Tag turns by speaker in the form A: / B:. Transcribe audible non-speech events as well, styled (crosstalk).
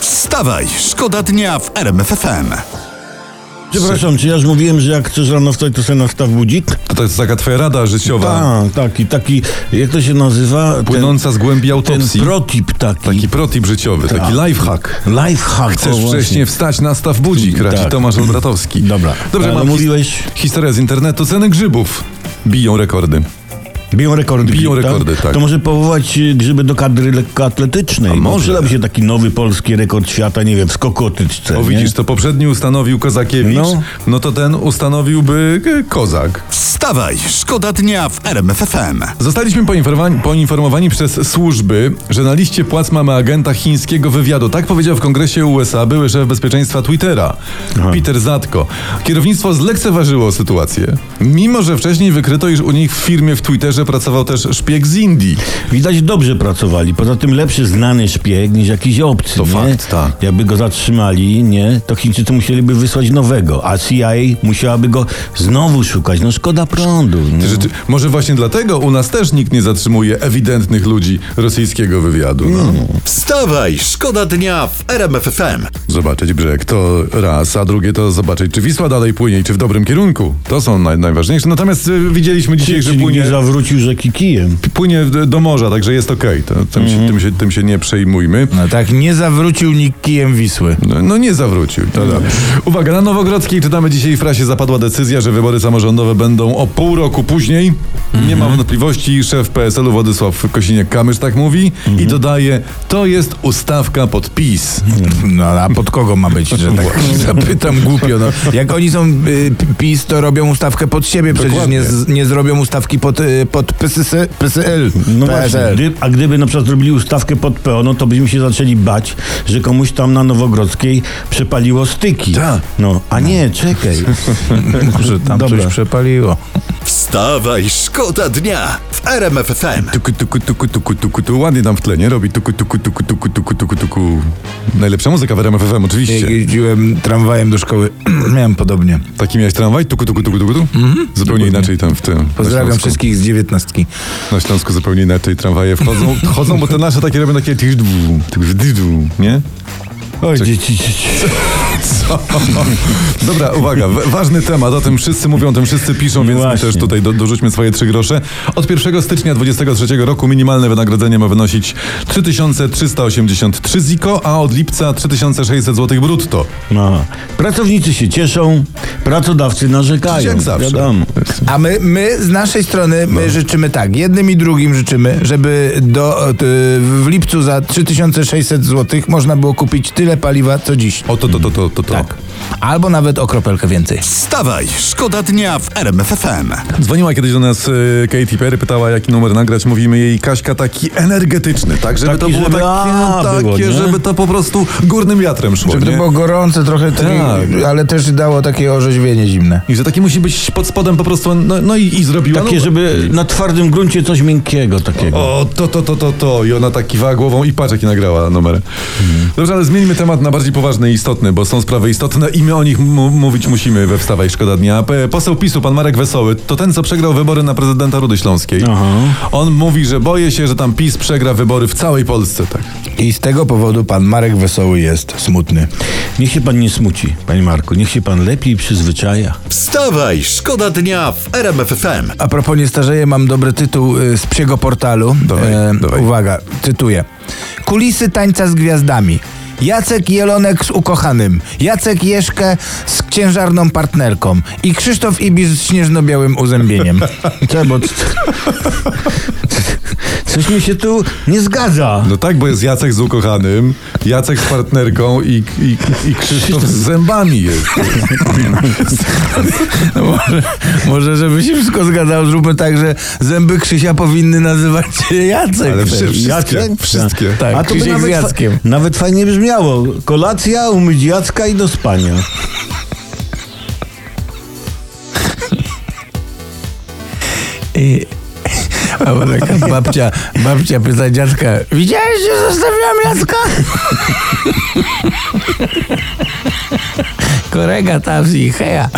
A: Wstawaj, szkoda dnia w RMFFM.
B: Przepraszam, czy ja już mówiłem, że jak chcesz rano wstać, to sobie nastaw budzik?
C: A to jest taka twoja rada życiowa,
B: Tak, taki, taki, jak to się nazywa?
C: płynąca z głębi
B: ten,
C: autopsji.
B: ten protip taki.
C: Taki protip życiowy, taki lifehack.
B: Lifehack.
C: Chcesz
B: o, właśnie.
C: wcześniej wstać, nastaw budzik, raci
B: Tak.
C: Tomasz Olbratowski.
B: Dobra.
C: Dobrze,
B: Ale
C: mam
B: mówiłeś-
C: his- historia z internetu. Ceny grzybów biją rekordy.
B: Biją rekordy.
C: Biją
B: grzyb,
C: rekordy, tak.
B: To może powołać y, grzyby do kadry lekkoatletycznej. A
C: może.
B: Przydałby się taki nowy polski rekord świata, nie wiem, w skokotyczce.
C: O
B: nie?
C: No widzisz, to poprzedni ustanowił Kozakiewicz,
B: No.
C: no, to ten ustanowiłby e, Kozak.
A: Wstawaj, szkoda dnia w RMFFM.
C: Zostaliśmy poinformowani, poinformowani przez służby, że na liście płac mamy agenta chińskiego wywiadu. Tak powiedział w kongresie USA były szef bezpieczeństwa Twittera, Peter Zatko. Kierownictwo zlekceważyło sytuację, mimo że wcześniej wykryto, iż u nich w firmie w Twitterze pracował też szpieg z Indii.
B: Widać dobrze pracowali. Poza tym lepszy znany szpieg niż jakiś obcy.
C: To
B: nie?
C: fakt, tak.
B: Jakby go zatrzymali, nie, to Chińczycy musieliby wysłać nowego, a CIA musiałaby go znowu szukać. No szkoda prądu. Nie?
C: Rzeczy, może właśnie dlatego u nas też nikt nie zatrzymuje ewidentnych ludzi rosyjskiego wywiadu. No.
A: Wstawaj, szkoda dnia w RMFFM.
C: Zobaczyć brzeg to raz, a drugie to zobaczyć, czy Wisła dalej płynie i czy w dobrym kierunku. To są naj, najważniejsze. Natomiast y, widzieliśmy dzisiaj, że
B: Czyli
C: płynie,
B: nie zawrócił rzeki kijem.
C: płynie d- do morza, także jest okej. To- Tym, się, tym, się, tym się nie przejmujmy.
D: No tak, nie zawrócił nikt kijem Wisły.
C: No, no nie zawrócił. To, da. Uwaga, na Nowogrodzkiej czytamy dzisiaj w prasie zapadła decyzja, że wybory samorządowe będą o pół roku później. Nie ma wątpliwości, szef PSL-u Władysław Kosiniak-Kamysz tak mówi i dodaje, to jest ustawka pod PiS.
D: No a pod kogo ma być, że tak zapytam głupio. No. (laughs) Jak oni są y, PiS, to robią ustawkę pod siebie, przecież
C: Dokładnie.
D: nie, z- nie zrobią ustawki pod, y, pod PSS, PSL.
B: No właśnie,
D: PSL.
B: gdy, a gdyby na przykład zrobili ustawkę pod PO, no to byśmy się zaczęli bać, że komuś tam na Nowogrodzkiej przepaliło styki.
D: Tak.
B: No, a nie,
C: (laughs)
B: czekaj.
D: Może tam
B: Dobra.
D: coś przepaliło.
A: Wstawaj, szkoda dnia w RMFFM.
C: Tuku, tuku, tuku, tuku, tuku, tu. Ładnie tam w tle, nie? Robi tuku, tuku, tuku, tuku, tuku, tuku, tuku. Najlepsza muzyka w RMF FM,
D: Jak
C: oczywiście.
D: jeździłem tramwajem do szkoły, (clears throat) miałem podobnie.
C: Taki miałeś tramwaj? Tuku, tuku, tuku, tuku, tu? Zupełnie inaczej tam w tym. na
D: Pozdrawiam
C: Śląsku.
D: wszystkich z dziewiętnastki.
C: Na Śląsku zupełnie inaczej tramwaje wchodzą, chodzą, bo te nasze takie robią takie tyżdżu, tyżdżu, tyżdżu, nie?
B: Oj, dzieci, dzieci.
C: Co? Dobra, uwaga, wa- ważny temat, o tym wszyscy mówią, o tym wszyscy piszą, więc my
B: Właśnie.
C: też tutaj do, dorzućmy swoje trzy grosze. Od 1 stycznia 2023 roku minimalne wynagrodzenie ma wynosić 3383 ziko, a od lipca 3600 zł brutto.
B: No. Pracownicy się cieszą, pracodawcy narzekają.
C: Jak zawsze.
B: Wiadomo.
D: A my, my z naszej strony my życzymy tak, jednym i drugim życzymy, żeby do, y, w lipcu za 3600 zł można było kupić tyle paliwa co dziś.
C: O to, to, to, to, to. to.
D: Tak. Albo nawet o kropelkę więcej.
A: Wstawaj, szkoda dnia w RMFFM.
C: Dzwoniła kiedyś do nas y, Katy Perry, pytała jaki numer nagrać, mówimy jej Kaśka taki energetyczny, tak żeby
B: Taki,
C: to było
B: żeby
C: takie,
B: a,
C: takie
B: było, nie?
C: żeby to po prostu górnym wiatrem szło,
D: Żeby to
C: nie?
D: było gorące trochę, takie,
C: Tak.
D: ale też dało takie orzeźwienie zimne.
C: I że taki musi być pod spodem po prostu, no, no i, i zrobiła.
B: Takie,
C: no,
B: żeby na twardym gruncie coś miękkiego takiego.
C: O, to, to, to, to, to. I ona tak kiwała głową i patrz, jaki nagrała numer. Dobrze, ale zmieńmy temat na bardziej poważny i istotny, bo są sprawy istotne i my o nich mu- mówić musimy we Wstawaj Szkoda Dnia. P- Poseł PiSu, pan Marek Wesoły, to ten, co przegrał wybory na prezydenta Rudy Śląskiej. On mówi, że boje się, że tam PiS przegra wybory w całej Polsce, tak.
D: I z tego powodu pan Marek Wesoły jest smutny.
B: Niech się pan nie smuci, panie Marku. Niech się pan lepiej przyzwyczaja.
A: Wstawaj, szkoda dnia w RMFFM.
D: A propos nie starzeje, mam dobry tytuł y, z psiego portalu. E,
C: Dawaj, dawaj.
D: Uwaga, cytuję. Kulisy tańca z gwiazdami. Jacek Jelonek z ukochanym, Jacek Jeszkę z księżarną partnerką i Krzysztof Ibisz z śnieżno-białym (laughs) uzębieniem.
B: Co, bo... c- Coś mi się tu nie zgadza.
C: No tak, bo jest Jacek z ukochanym, Jacek z partnerką i, i, i Krzysztof z zębami jest.
D: może, może, żeby się wszystko zgadzało, zróbmy tak, że zęby Krzysia powinny nazywać się Jacek.
C: Ale
D: też.
C: wszy- wszystkie, wszystkie.
D: Tak,
B: A to by
D: Krzysiek z
B: nawet, fa-
D: Jackiem.
B: nawet fajnie brzmiało. Kolacja, umyć Jacka i do spania.
D: I... Albo
C: (laughs)
D: taka babcia, babcia pyta dziadka, widziałeś, że zostawiłam Jacka?
C: (laughs)
D: Korega tam i heja.